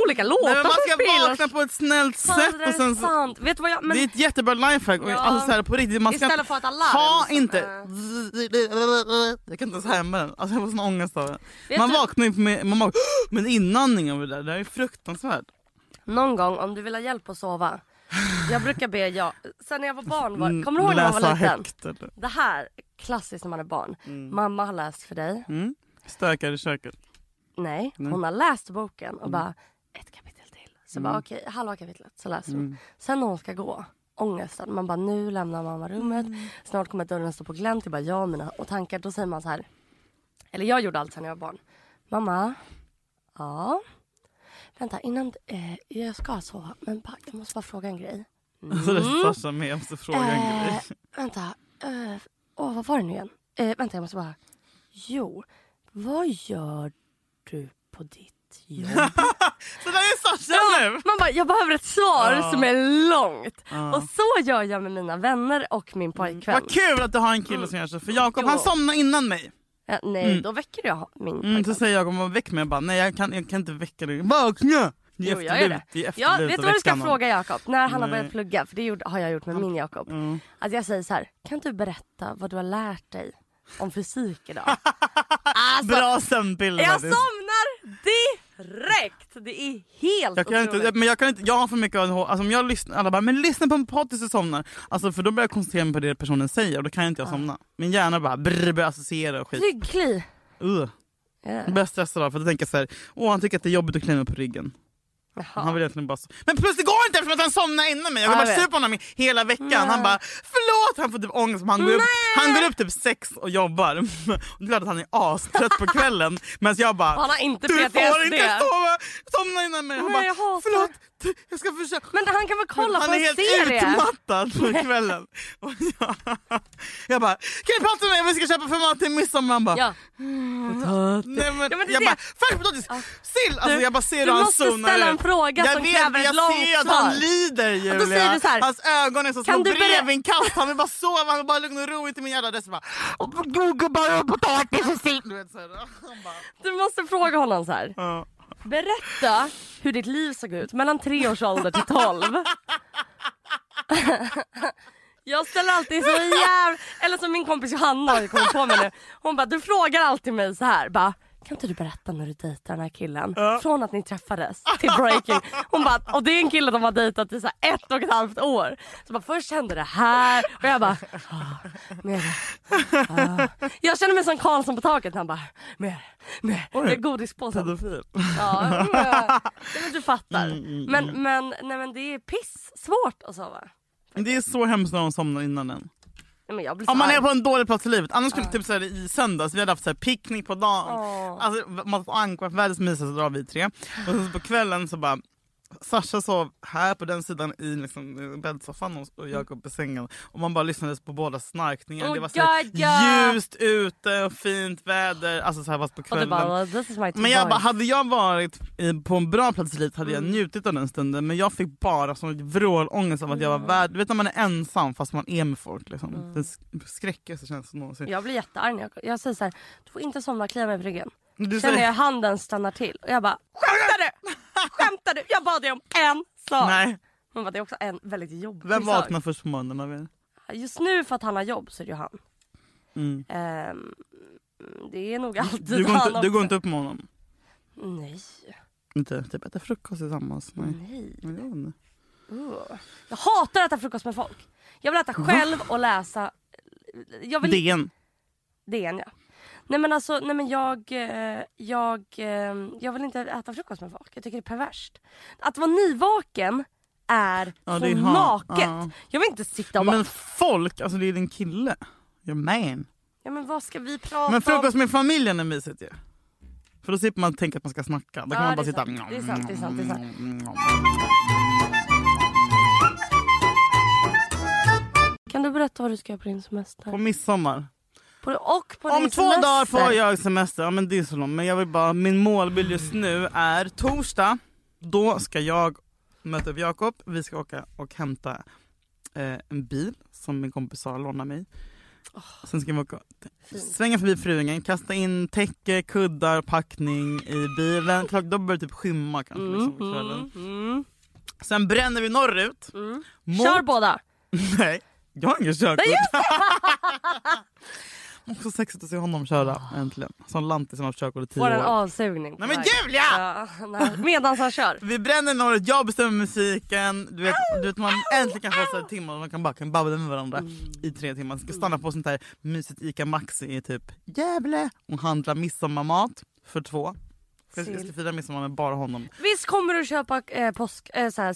Speaker 2: olika låtar
Speaker 1: Nej, men Man
Speaker 2: som
Speaker 1: ska
Speaker 2: spelas.
Speaker 1: vakna på ett snällt
Speaker 2: Fan,
Speaker 1: sätt.
Speaker 2: det
Speaker 1: Och
Speaker 2: där är
Speaker 1: sen så,
Speaker 2: sant. Vet du vad jag... Men
Speaker 1: det är ett jättebra lifehack. Och
Speaker 2: Ja.
Speaker 1: Alltså, så här, på riktigt, man ska
Speaker 2: Istället för ett alarm.
Speaker 1: Ha
Speaker 2: så-
Speaker 1: inte...
Speaker 2: Äh.
Speaker 1: Jag kan inte ens härma den. Alltså, jag får sån ångest av
Speaker 2: eh. Vet
Speaker 1: den. Man
Speaker 2: du-
Speaker 1: vaknar ju med, man vaknar, med en inandning av det där. Det där är fruktansvärt.
Speaker 2: Någon gång om du vill ha hjälp att sova. Jag brukar be jag. Sen när jag var barn, var, kommer du ihåg när man
Speaker 1: Mm, Läsa
Speaker 2: var liten?
Speaker 1: högt. Mm. Eller?
Speaker 2: Det här, klassiskt när man är barn. Mamma har läst för dig.
Speaker 1: Stökar i köket.
Speaker 2: Nej, hon har läst boken
Speaker 1: Mm.
Speaker 2: och bara ett kapitel till. Så bara okej, halva kapitlet så läser hon.
Speaker 1: Mm.
Speaker 2: Sen när hon ska gå, ångesten. Man bara nu lämnar mamma rummet.
Speaker 1: Mm.
Speaker 2: Snart kommer dörren stå på glänt. Jag bara ja mina och tankar. Då säger man så här. Eller jag gjorde allt sen jag var barn. Mamma. Ja. Vänta innan, eh, jag ska sova men bara, jag måste bara fråga en grej.
Speaker 1: Alltså, det är Sasha med. Jag måste fråga en
Speaker 2: Eh,
Speaker 1: grej.
Speaker 2: Vänta, eh, åh, vad var det nu igen? Eh, vänta, jag måste bara... Jo, vad gör du på ditt jobb?
Speaker 1: Så där är Sasha nu!
Speaker 2: Man bara, jag behöver ett svar
Speaker 1: Ja.
Speaker 2: som är långt. Och så gör jag med mina vänner och min pojkvän.
Speaker 1: Mm. Vad kul att du har en kille som gör så. För Jakob
Speaker 2: Jo.
Speaker 1: han somnade innan mig.
Speaker 2: Ja, nej, då väcker jag min
Speaker 1: Mm,
Speaker 2: pojkvän.
Speaker 1: så säger jag om man väck mig jag bara nej jag kan, jag kan inte väcka dig. Vakna! Det är
Speaker 2: Jo, jag gör det.
Speaker 1: efterlut, det är
Speaker 2: Ja,
Speaker 1: efterlut
Speaker 2: vet du
Speaker 1: att
Speaker 2: vad du ska
Speaker 1: väcka någon.
Speaker 2: fråga Jakob? När han har
Speaker 1: Nej. Mm.
Speaker 2: börjat plugga, för det gjorde- har jag gjort med min Jakob. Att jag säger så här, kan du berätta vad du har lärt dig om fysik idag? alltså,
Speaker 1: Bra sömnbild
Speaker 2: Jag
Speaker 1: Alice.
Speaker 2: somnar direkt! Det är helt
Speaker 1: jag kan inte,
Speaker 2: otroligt.
Speaker 1: men jag kan inte, jag har för mycket ADHD. Alltså om jag lyssnar, alla bara men lyssna på en podd tills du somnar. Alltså för då börjar jag koncentrera mig på det personen säger och då kan inte jag somna. Min hjärna bara brr, börjar associera och skit.
Speaker 2: Ryggkli.
Speaker 1: Uh.
Speaker 2: Yeah.
Speaker 1: Jag börjar stressa då för då tänker jag så här, åh han tycker att det är jobbigt att klämma på ryggen. Han vill egentligen bara so- Men plus det går inte eftersom att han somnar innan mig. Jag
Speaker 2: Ja,
Speaker 1: har
Speaker 2: jag
Speaker 1: varit
Speaker 2: vet.
Speaker 1: sur på honom i hela veckan. Han bara förlåt, han får typ ångest. men Han går, upp, han går upp typ sex och jobbar. Och det är klart att han är astrött på kvällen. Men jag bara
Speaker 2: Han har inte
Speaker 1: du
Speaker 2: PTSD.
Speaker 1: får inte sova, somna innan mig. Han
Speaker 2: Nej,
Speaker 1: bara
Speaker 2: jag hatar-
Speaker 1: förlåt, du, jag ska försöka.
Speaker 2: Men han kan väl kolla
Speaker 1: han
Speaker 2: på
Speaker 1: är
Speaker 2: en
Speaker 1: helt
Speaker 2: serie?
Speaker 1: utmattad på kvällen. Och jag, jag bara, kan du prata med mig? Vi ska köpa format till midsommar. Han bara,
Speaker 2: Ja.
Speaker 1: Nej, men,
Speaker 2: Ja, men det är
Speaker 1: jag
Speaker 2: det.
Speaker 1: bara, fuck potatis, sill! Alltså,
Speaker 2: Du-
Speaker 1: jag bara ser
Speaker 2: du
Speaker 1: hur han
Speaker 2: måste
Speaker 1: zonar
Speaker 2: ställa en
Speaker 1: ut.
Speaker 2: fråga
Speaker 1: jag
Speaker 2: som
Speaker 1: vet,
Speaker 2: kräver ett
Speaker 1: jag
Speaker 2: långt
Speaker 1: ser att han
Speaker 2: svar.
Speaker 1: lider
Speaker 2: då
Speaker 1: Julia.
Speaker 2: säger du så här,
Speaker 1: Hans ögon är som
Speaker 2: kan
Speaker 1: små
Speaker 2: du berä-
Speaker 1: brevinkast. Han vill bara sova, han vill bara ha lugn och ro. Inte min jävla adress. Bara, Jordgubbar och potatis och sill. Du vet, så här. Han bara,
Speaker 2: Du måste fråga honom så här.
Speaker 1: ja.
Speaker 2: Berätta hur ditt liv såg ut mellan tre års ålder till tolv. Jag ställer alltid så jävla... Eller som min kompis Johanna har kommit på mig nu. Hon bara, du frågar alltid mig så här. Bara, kan inte du berätta när du dejtar den här killen? Från att ni träffades till breaking. Hon bara, och det är en kille de har dejtat i så här ett och ett halvt år. Så bara, först hände det här och jag bara, ah, mer. Ah. Jag känner mig som Karlsson på taket. Han bara, mer, mer. Med godispåsen.
Speaker 1: Pedofil. Mm,
Speaker 2: Ja, mm, ja. Nej, men du fattar. Men, men, nej, men det är piss svårt att sova.
Speaker 1: Det är så hemskt när de somnar innan en.
Speaker 2: Nej, men jag blir så
Speaker 1: Om man
Speaker 2: arg.
Speaker 1: är på en dålig plats i livet. Annars skulle typ så här, i söndags, vi hade haft så här, picknick på dagen.
Speaker 2: Åh.
Speaker 1: Alltså, man och Anka, världens mysigaste drar vi tre. Och sen så på kvällen så bara Sasha sov här på den sidan i liksom, eh, bäddsoffan och- och Jakob i sängen. Och man bara lyssnade på båda snarkningar.
Speaker 2: Oh
Speaker 1: det var så här,
Speaker 2: God, ja.
Speaker 1: ljust ute och fint väder. Alltså så här fast på
Speaker 2: Och du
Speaker 1: kvällen.
Speaker 2: bara, well, this is my two
Speaker 1: Men jag bara,
Speaker 2: boys.
Speaker 1: hade jag varit i- på en bra plats i livet hade jag
Speaker 2: Mm.
Speaker 1: njutit av den stunden men jag fick bara sån vrålångest av att jag var värd. Du vet när man är ensam fast man är med folk. Liksom.
Speaker 2: Mm.
Speaker 1: Den sk- skräckigaste känslan någonsin.
Speaker 2: Jag blir jättearg när jag, jag säger så här, du får inte somna, klia mig på ryggen.
Speaker 1: Du
Speaker 2: Sen när
Speaker 1: säger-
Speaker 2: jag handen stannar till och jag bara, skämtar du? Skämtar du? Jag bad dig om en sak.
Speaker 1: Nej,
Speaker 2: Hon bara, det är också en väldigt jobbig
Speaker 1: vem
Speaker 2: sak.
Speaker 1: vaknar först på morgonen av er?
Speaker 2: Just nu för att han har jobb så är det ju han.
Speaker 1: Mm.
Speaker 2: Ehm, det är nog alltid
Speaker 1: Du, går
Speaker 2: han
Speaker 1: inte, du går
Speaker 2: också.
Speaker 1: inte upp på morgonen?
Speaker 2: Nej,
Speaker 1: Inte typ äta frukost tillsammans? Nej.
Speaker 2: nej.
Speaker 1: Jag vet inte.
Speaker 2: Uh. Jag hatar att äta frukost med folk. Jag vill äta själv och läsa. Jag vill...
Speaker 1: DN.
Speaker 2: DN ja. Nej men alltså, nej men jag, eh, jag, eh, jag vill inte äta frukost med vak. Jag tycker det är perverst. Att vara nyvaken är
Speaker 1: Ja,
Speaker 2: så
Speaker 1: det är ha-
Speaker 2: naket.
Speaker 1: ja.
Speaker 2: Jag vill inte sitta och bara,
Speaker 1: Men folk, alltså det är din kille. Your man.
Speaker 2: ja men vad ska vi prata
Speaker 1: Men
Speaker 2: om?
Speaker 1: frukost med familjen är mysigt ju. För då slipper man tänka att man ska snacka. Då kan
Speaker 2: Ja,
Speaker 1: man bara
Speaker 2: det är
Speaker 1: sitta...
Speaker 2: sant. Det är sant, det är sant, det är Kan du berätta vad du ska göra på din
Speaker 1: På
Speaker 2: semester?
Speaker 1: midsommar.
Speaker 2: På, och på
Speaker 1: Om
Speaker 2: din
Speaker 1: två
Speaker 2: semester.
Speaker 1: dagar får jag semester. Ja, men det är så långt. Men jag vill bara, min målbild just nu är torsdag. Då ska jag möta upp Jakob. Vi ska åka och hämta eh, en bil som min kompis Sara lånar mig. Sen ska vi åka, svänga förbi Fruängen, kasta in täcke, kuddar, packning i bilen. Klart, då börjar det typ skymma kanske. Liksom, på kvällen.
Speaker 2: Mm.
Speaker 1: Sen bränner vi norrut. Mot-
Speaker 2: Kör båda!
Speaker 1: Nej, jag har inget körkort. Nej, Också sexigt att se honom köra äntligen. Som lantis som har haft körkort i tio
Speaker 2: Vår
Speaker 1: år.
Speaker 2: avsugning.
Speaker 1: Nej men
Speaker 2: Nej.
Speaker 1: Julia!
Speaker 2: Ja, nej. Medan han kör.
Speaker 1: Vi bränner norrut, jag bestämmer musiken. Du vet, du vet man äntligen kan få så här timmar och man kan bara kan babbla med varandra i tre timmar. Ska stanna på sånt här mysigt Ica Maxi i typ Gävle och handla midsommarmat för två. För Jag ska- jag ska fira midsommar med bara honom.
Speaker 2: Visst kommer du köpa eh, påsk... Eh, så här,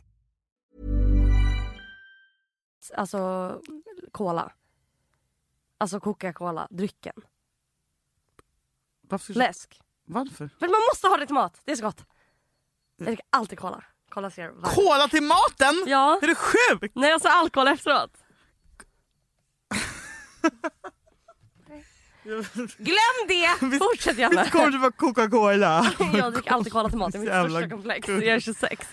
Speaker 2: alltså cola. Alltså Coca-Cola, drycken.
Speaker 1: Varför? ska-
Speaker 2: Läsk.
Speaker 1: Varför?
Speaker 2: Men man måste ha det till mat, det är så gott. Jag dricker alltid cola. Cola zero. varm.
Speaker 1: Kola till maten?
Speaker 2: Ja.
Speaker 1: Är du sjuk?
Speaker 2: Nej alltså alkohol efteråt. Glöm det! Fortsätt gärna.
Speaker 1: Kommer du bara Coca-Cola?
Speaker 2: Jag dricker alltid cola till mat, det är mitt
Speaker 1: Jävla
Speaker 2: största komplex. Jag är 26.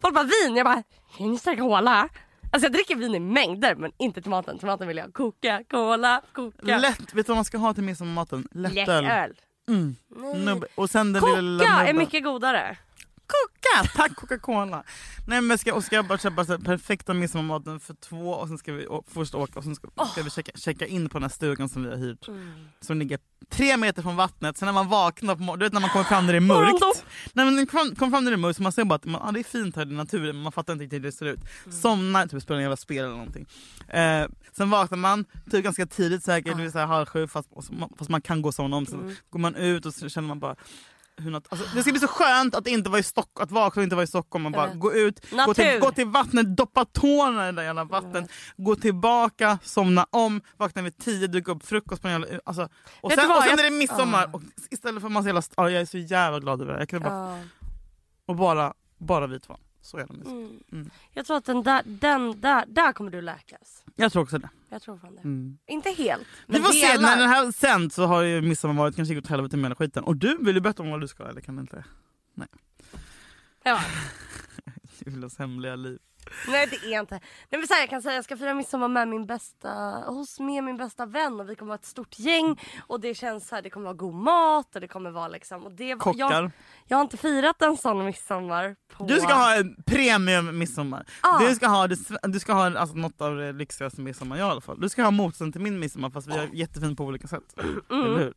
Speaker 2: Folk bara vin, jag bara, jag är inte cola. Alltså jag dricker vin i mängder men inte till maten. Till maten vill jag ha coca, cola, coca.
Speaker 1: Lätt, vet du vad man ska ha till midsommarmaten? Lättöl.
Speaker 2: Lättöl.
Speaker 1: Nubbe. Och sen den lilla, lilla
Speaker 2: Coca är
Speaker 1: nubben.
Speaker 2: mycket godare.
Speaker 1: Coca! Tack Coca-Cola. Nej men ska, och ska jag bara köpa så här perfekta midsommarmaten för två och sen ska vi å- först åka och sen ska, ska vi checka, checka in på den här stugan som vi har hyrt. Som ligger tre meter från vattnet. Sen när man vaknar på mor- du vet när man kommer fram när det är mörkt.
Speaker 2: Morgondopp.
Speaker 1: Nej men kom, kom fram när det är mörkt så man ser bara att man, ah, det är fint här i naturen men man fattar inte riktigt hur det ser ut. Somnar, typ spelar en jävla spel eller någonting. Eh, sen vaknar man, typ ganska tidigt säkert, det är så här halv sju fast, och så- fast man kan gå sommaren om. Sen går man ut och så känner man bara hur nat- alltså, det ska bli så skönt att inte vara i Stockholm, att vakna och inte vara i Stockholm. Man bara
Speaker 2: vet.
Speaker 1: gå ut, gå till,
Speaker 2: Äh. Natur.
Speaker 1: gå till vattnet, doppa tårna i det där jävla vattnet, gå tillbaka, somna om, vakna vid tio, duka upp frukost på en jävla... Alltså, och,
Speaker 2: Vet
Speaker 1: sen,
Speaker 2: du vad,
Speaker 1: och sen
Speaker 2: jag-
Speaker 1: är det midsommar. Och istället för massa jävla... st- Ja, jag är så jävla glad över det. Jag kan
Speaker 2: Ja.
Speaker 1: bara, Och bara, bara vi två. Så jävla mysigt.
Speaker 2: Mm. Jag tror att den där, den där, där kommer du läkas.
Speaker 1: Jag tror också det. Mm.
Speaker 2: Jag tror fan det. Inte helt.
Speaker 1: Vi
Speaker 2: Men
Speaker 1: får se,
Speaker 2: delar.
Speaker 1: när den här sänds så har ju midsommar varit kanske gått åt helvete med hela skiten. Och du vill ju berätta om vad du ska eller kan du inte?
Speaker 2: Ja.
Speaker 1: Julas hemliga liv.
Speaker 2: Nej det är inte. Nej, men så här, jag kan säga jag ska fira midsommar med min bästa, hos med min bästa vän och vi kommer vara ett stort gäng och det känns så här, det kommer vara god mat och det kommer vara liksom. Och det,
Speaker 1: Kockar.
Speaker 2: Jag, jag har inte firat en sån midsommar på.
Speaker 1: Du ska ha en premium midsommar.
Speaker 2: Ah.
Speaker 1: Du ska ha, det, sve- du ska ha alltså, något av det lyxigaste midsommar jag har i alla fall. Du ska ha motsatsen till min midsommar fast vi är jättefin på olika sätt. Eller hur?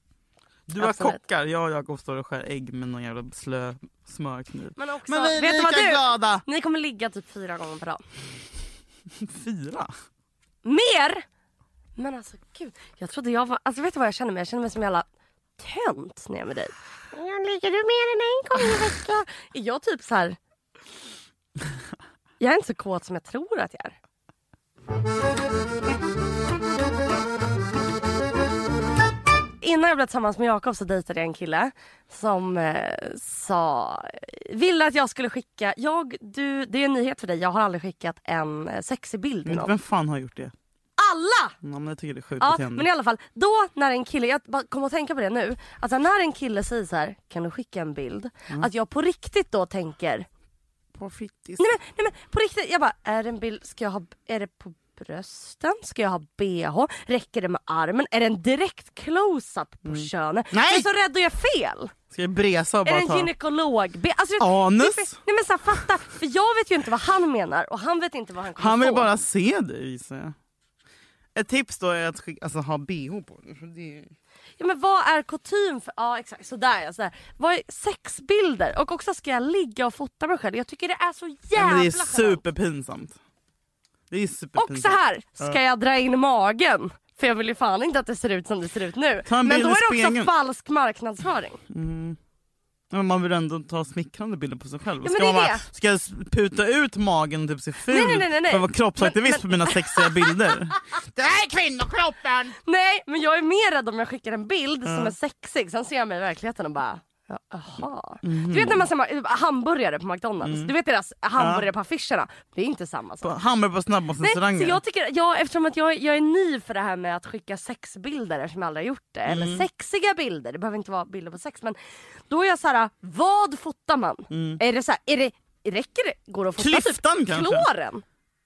Speaker 1: Du har
Speaker 2: Mm. Absolut.
Speaker 1: kockar, jag och Jakob står och skär ägg med någon jävla slö smörkniv.
Speaker 2: Men också,
Speaker 1: Men vi är
Speaker 2: vet du
Speaker 1: lika
Speaker 2: vad du?
Speaker 1: glada!
Speaker 2: Ni kommer ligga typ fyra gånger per dag.
Speaker 1: Fyra?
Speaker 2: Mer! Men alltså gud, jag trodde jag var, alltså vet du vad jag känner mig? Jag känner mig som en jävla tönt när jag är med dig. Jag ligger du med än en gång i veckan? Är jag typ så här. Jag är inte så kåt som jag tror att jag är. Innan jag blev tillsammans med Jakob så dejtade jag en kille som eh, sa, ville att jag skulle skicka, jag, du, det är en nyhet för dig, jag har aldrig skickat en eh, sexig bild till någon.
Speaker 1: Vem fan har gjort det?
Speaker 2: Alla!
Speaker 1: Ja, men jag tycker det är sjukt
Speaker 2: Ja,
Speaker 1: beteende.
Speaker 2: men i alla fall. Då när en kille, jag bara kom att tänka på det nu. Alltså när en kille säger så här, kan du skicka en bild?
Speaker 1: Mm.
Speaker 2: Att jag på riktigt då tänker,
Speaker 1: På fittis.
Speaker 2: nej men, nej men på riktigt, jag bara, är det en bild, ska jag ha, är det på brösten? Ska jag ha bh? Räcker det med armen? Är det en direkt close-up på könet?
Speaker 1: Mm. Nej!
Speaker 2: Jag är så rädd att göra fel!
Speaker 1: Ska jag bresa och
Speaker 2: Är det
Speaker 1: bara
Speaker 2: en
Speaker 1: ta...
Speaker 2: gynekolog? Be- Alltså, det-
Speaker 1: Anus?
Speaker 2: det är för- Nej men så här, fatta, för jag vet ju inte vad han menar och han vet inte vad han kommer
Speaker 1: Han vill
Speaker 2: få.
Speaker 1: bara se dig gissar jag. Ett tips då är att skicka, alltså, ha bh på dig. för det är-
Speaker 2: Ja, men vad är kutym för... Ja exakt, sådär ja. Sådär. Vad är sexbilder? Och också ska jag ligga och fota mig själv? Jag tycker det är så
Speaker 1: Ja,
Speaker 2: jävla
Speaker 1: men det är
Speaker 2: genant.
Speaker 1: superpinsamt. Det är
Speaker 2: Och
Speaker 1: superpinsamt.
Speaker 2: så här, ska jag dra in magen? För jag vill ju fan inte att det ser ut som det ser ut nu.
Speaker 1: Ta en
Speaker 2: Men då
Speaker 1: bild i
Speaker 2: är det också
Speaker 1: spegeln.
Speaker 2: falsk marknadsföring.
Speaker 1: Ja, Men man vill ändå ta smickrande bilder på sig själv.
Speaker 2: Ja, men
Speaker 1: Ska,
Speaker 2: det är
Speaker 1: man bara,
Speaker 2: det.
Speaker 1: ska jag puta ut magen och typ se ful
Speaker 2: Nej, nej, nej, nej, nej.
Speaker 1: för att vara kroppsaktivist
Speaker 2: Men-
Speaker 1: på mina sexiga bilder? det här är kvinnokroppen!
Speaker 2: Nej, men jag är mer rädd om jag skickar en bild som är sexig. Sen ser jag mig i verkligheten och bara... ja, Jaha. Du
Speaker 1: Mhm.
Speaker 2: vet när man ser hamburgare på McDonalds,
Speaker 1: Mm.
Speaker 2: du vet deras hamburgare på affischerna. Det är inte samma sak.
Speaker 1: På- Hamburgare på
Speaker 2: Nej, så
Speaker 1: snabbmatsrestauranger.
Speaker 2: jag tycker, ja, eftersom att jag, jag är ny för det här med att skicka sexbilder eftersom jag aldrig har gjort det.
Speaker 1: Mm.
Speaker 2: Eller sexiga bilder, det behöver inte vara bilder på sex. Men då är jag så här, vad fotar man? Är det så här, är det, räcker det? Går det att fota
Speaker 1: Mm. Klyftan
Speaker 2: typ
Speaker 1: kanske?
Speaker 2: klåren?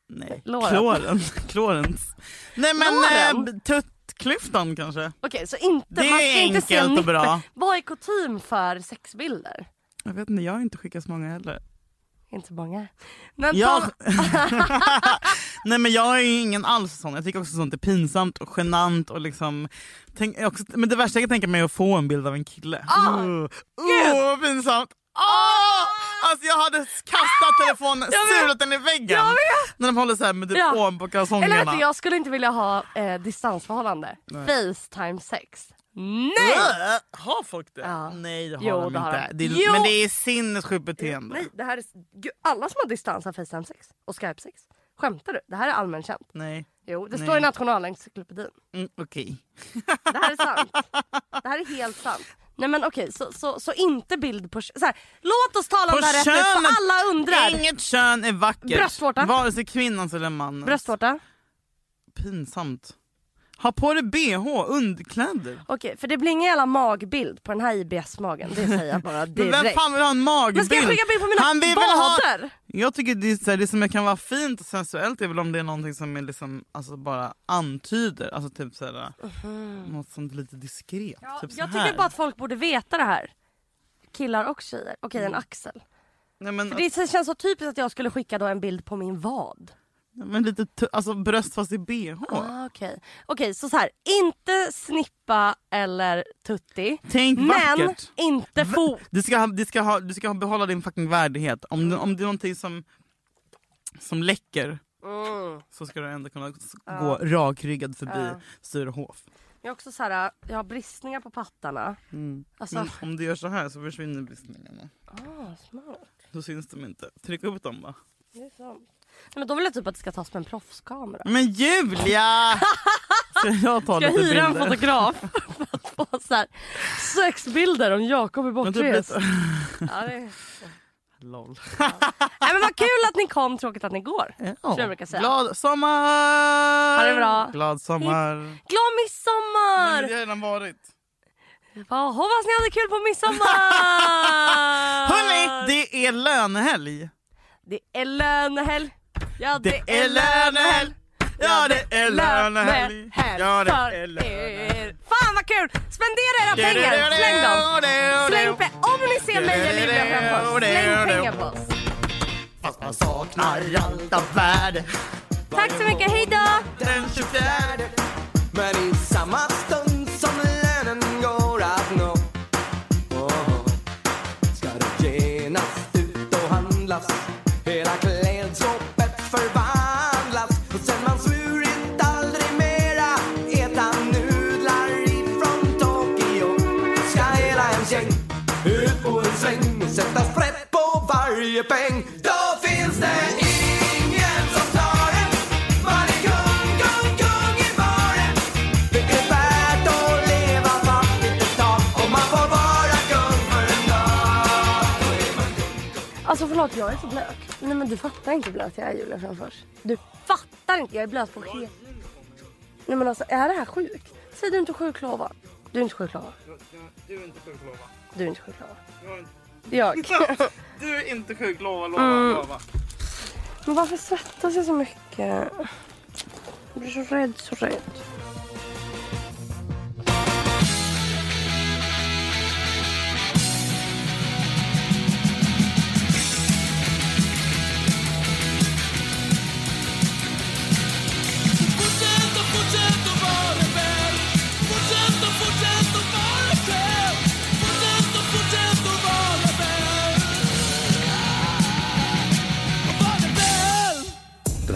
Speaker 1: Nej,
Speaker 2: Låren.
Speaker 1: kloren. Klorens. Nej men
Speaker 2: Låren?
Speaker 1: eh, tuttklyftan kanske?
Speaker 2: Okej, så inte,
Speaker 1: Det
Speaker 2: man
Speaker 1: är
Speaker 2: ska inte se
Speaker 1: enkelt och
Speaker 2: nippel.
Speaker 1: bra.
Speaker 2: Vad är kutym för sexbilder?
Speaker 1: Jag vet inte, jag har inte skickat så många heller.
Speaker 2: Inte så många. Men
Speaker 1: Jag...
Speaker 2: ta,
Speaker 1: Nej men jag är ju ingen alls sån. Jag tycker också sånt är pinsamt och genant och liksom... Tänk, också, men det värsta jag kan tänka mig är att få en bild av en kille.
Speaker 2: Ah,
Speaker 1: Åh, uh, vad pinsamt! Oh! Alltså jag hade kastat telefonen,
Speaker 2: Ah! vet.
Speaker 1: stulit den i väggen.
Speaker 2: Jag vet.
Speaker 1: När de håller såhär med typ
Speaker 2: Ja.
Speaker 1: ovanpå
Speaker 2: eller
Speaker 1: kalsongerna.
Speaker 2: att jag skulle inte vilja ha eh, distansförhållande. Facetime-sex. Nej!
Speaker 1: Äh, Har folk det?
Speaker 2: Ja.
Speaker 1: Nej det har
Speaker 2: Jo,
Speaker 1: de
Speaker 2: det
Speaker 1: inte.
Speaker 2: har de.
Speaker 1: Det är,
Speaker 2: Jo.
Speaker 1: Men det är sinnessjukt beteende.
Speaker 2: Nej, det här är... Gud, alla som har distans har Facetime sex och Skype sex. Skämtar du? Det här är allmänt känt.
Speaker 1: Nej.
Speaker 2: Jo, det
Speaker 1: Nej.
Speaker 2: står i Nationalencyklopedin.
Speaker 1: Mm, Okej.
Speaker 2: Det här är sant. det här är helt sant. Nej men okej, så, så, så inte bild på... kö- Så här, låt oss tala om
Speaker 1: På
Speaker 2: det här rätt ut,
Speaker 1: könet.
Speaker 2: för alla undrar.
Speaker 1: Inget kön är vackert.
Speaker 2: Bröstvårta.
Speaker 1: Vare sig kvinnans eller mannens.
Speaker 2: Bröstvårta?
Speaker 1: Pinsamt. Ha på dig bh, underkläder.
Speaker 2: Okej, för det blir ingen jävla magbild på den här IBS-magen. Det säger jag bara
Speaker 1: Men
Speaker 2: direkt.
Speaker 1: vem fan vill ha en magbild?
Speaker 2: Men ska jag skicka bild på mina
Speaker 1: Han vill väl ha-
Speaker 2: vader?
Speaker 1: Jag tycker det, är så här, det som jag kan vara fint och sensuellt är väl om det är någonting som är liksom, alltså bara antyder. Alltså typ så här, något som är lite diskret.
Speaker 2: Mhm. Ja,
Speaker 1: typ så
Speaker 2: jag
Speaker 1: här.
Speaker 2: tycker bara att folk borde veta det här. Killar och tjejer. Okej,
Speaker 1: Mm.
Speaker 2: en axel.
Speaker 1: Nej, men,
Speaker 2: För det känns så typiskt att jag skulle skicka då en bild på min vad.
Speaker 1: men lite tu- alltså, bröst fast i bh.
Speaker 2: Ah, Okej, Okej, så så här. Inte snippa eller tutti.
Speaker 1: Tänk
Speaker 2: men
Speaker 1: vackert.
Speaker 2: inte fot.
Speaker 1: Du ska, ha, du, ska ha, du ska ha behålla din fucking värdighet. Om, du, om det är någonting som, som läcker
Speaker 2: Mm.
Speaker 1: så ska du ändå kunna s- gå rakryggad förbi Sturehof.
Speaker 2: Jag, är också så här, jag har bristningar på pattarna.
Speaker 1: Mm.
Speaker 2: Alltså,
Speaker 1: Men om du gör så här så försvinner bristningarna.
Speaker 2: ah, smart.
Speaker 1: Då syns de inte. Tryck upp dem bara.
Speaker 2: Det är sant. Nej, men då vill jag typ att det ska tas med en proffskamera.
Speaker 1: Men Julia! Ska jag ta
Speaker 2: Ska jag
Speaker 1: lite
Speaker 2: hyra en
Speaker 1: bilder?
Speaker 2: fotograf för att få så här, sexbilder om Jakob är
Speaker 1: Men typ
Speaker 2: bortrest?
Speaker 1: lite-
Speaker 2: Ja, det...
Speaker 1: Lol.
Speaker 2: Nej, men vad kul att ni kom, tråkigt att ni går. Som jag brukar säga.
Speaker 1: Glad sommar!
Speaker 2: Ha det bra.
Speaker 1: Glad sommar!
Speaker 2: Glad
Speaker 1: Men
Speaker 2: midsommar!
Speaker 1: det har redan varit.
Speaker 2: Ja, hoppas ni hade kul på midsommar!
Speaker 1: Hörni, det är lönehelg!
Speaker 2: Det är lönehelg. Ja det, är lönehelg.
Speaker 1: lönehelg! Ja det är lönehelg! Ja det
Speaker 2: för
Speaker 1: är lönehelg!
Speaker 2: er. Fan vad kul! Spendera era pengar! Släng dem! Släng pe- Om ni ser mig eller Julia framför oss, släng pengar på oss.
Speaker 1: Fast man saknar allt av värde
Speaker 2: Tack så mycket, hejdå!
Speaker 1: den 24
Speaker 3: Men i samma stund som lönen går att nå oh, ska det genast ut och handlas Hela klädskåpet förvandlas och sen man svurit aldrig mera äta nudlar ifrån Tokyo ska hela ens gäng ut på en sväng och sätta sprätt på varje peng Då finns det ingen som tar en Man är kung, kung, kung i baren Det är värt att leva fattigt ett tag om man får vara kung för en dag
Speaker 2: Alltså förlåt, jag är så blöt. Nej men du fattar inte hur blöt jag är Julia Fränfors. Du fattar inte, jag är blöt på hela... Nej men alltså är det här sjukt? Säg du är inte sjuklova. Du är inte sjuklova.
Speaker 1: Du är inte sjuk lova
Speaker 2: Du är inte sjuklova. Jag.
Speaker 1: Du är inte Mm. sjuk lova lova lova
Speaker 2: Men varför svettas jag så mycket? Jag blir så rädd, så rädd.
Speaker 3: Fortsätt och fortsätt och var rebell Fortsätt och fortsätt och var rebell Fortsätt och fortsätt och var rebell Och var rebell
Speaker 5: Den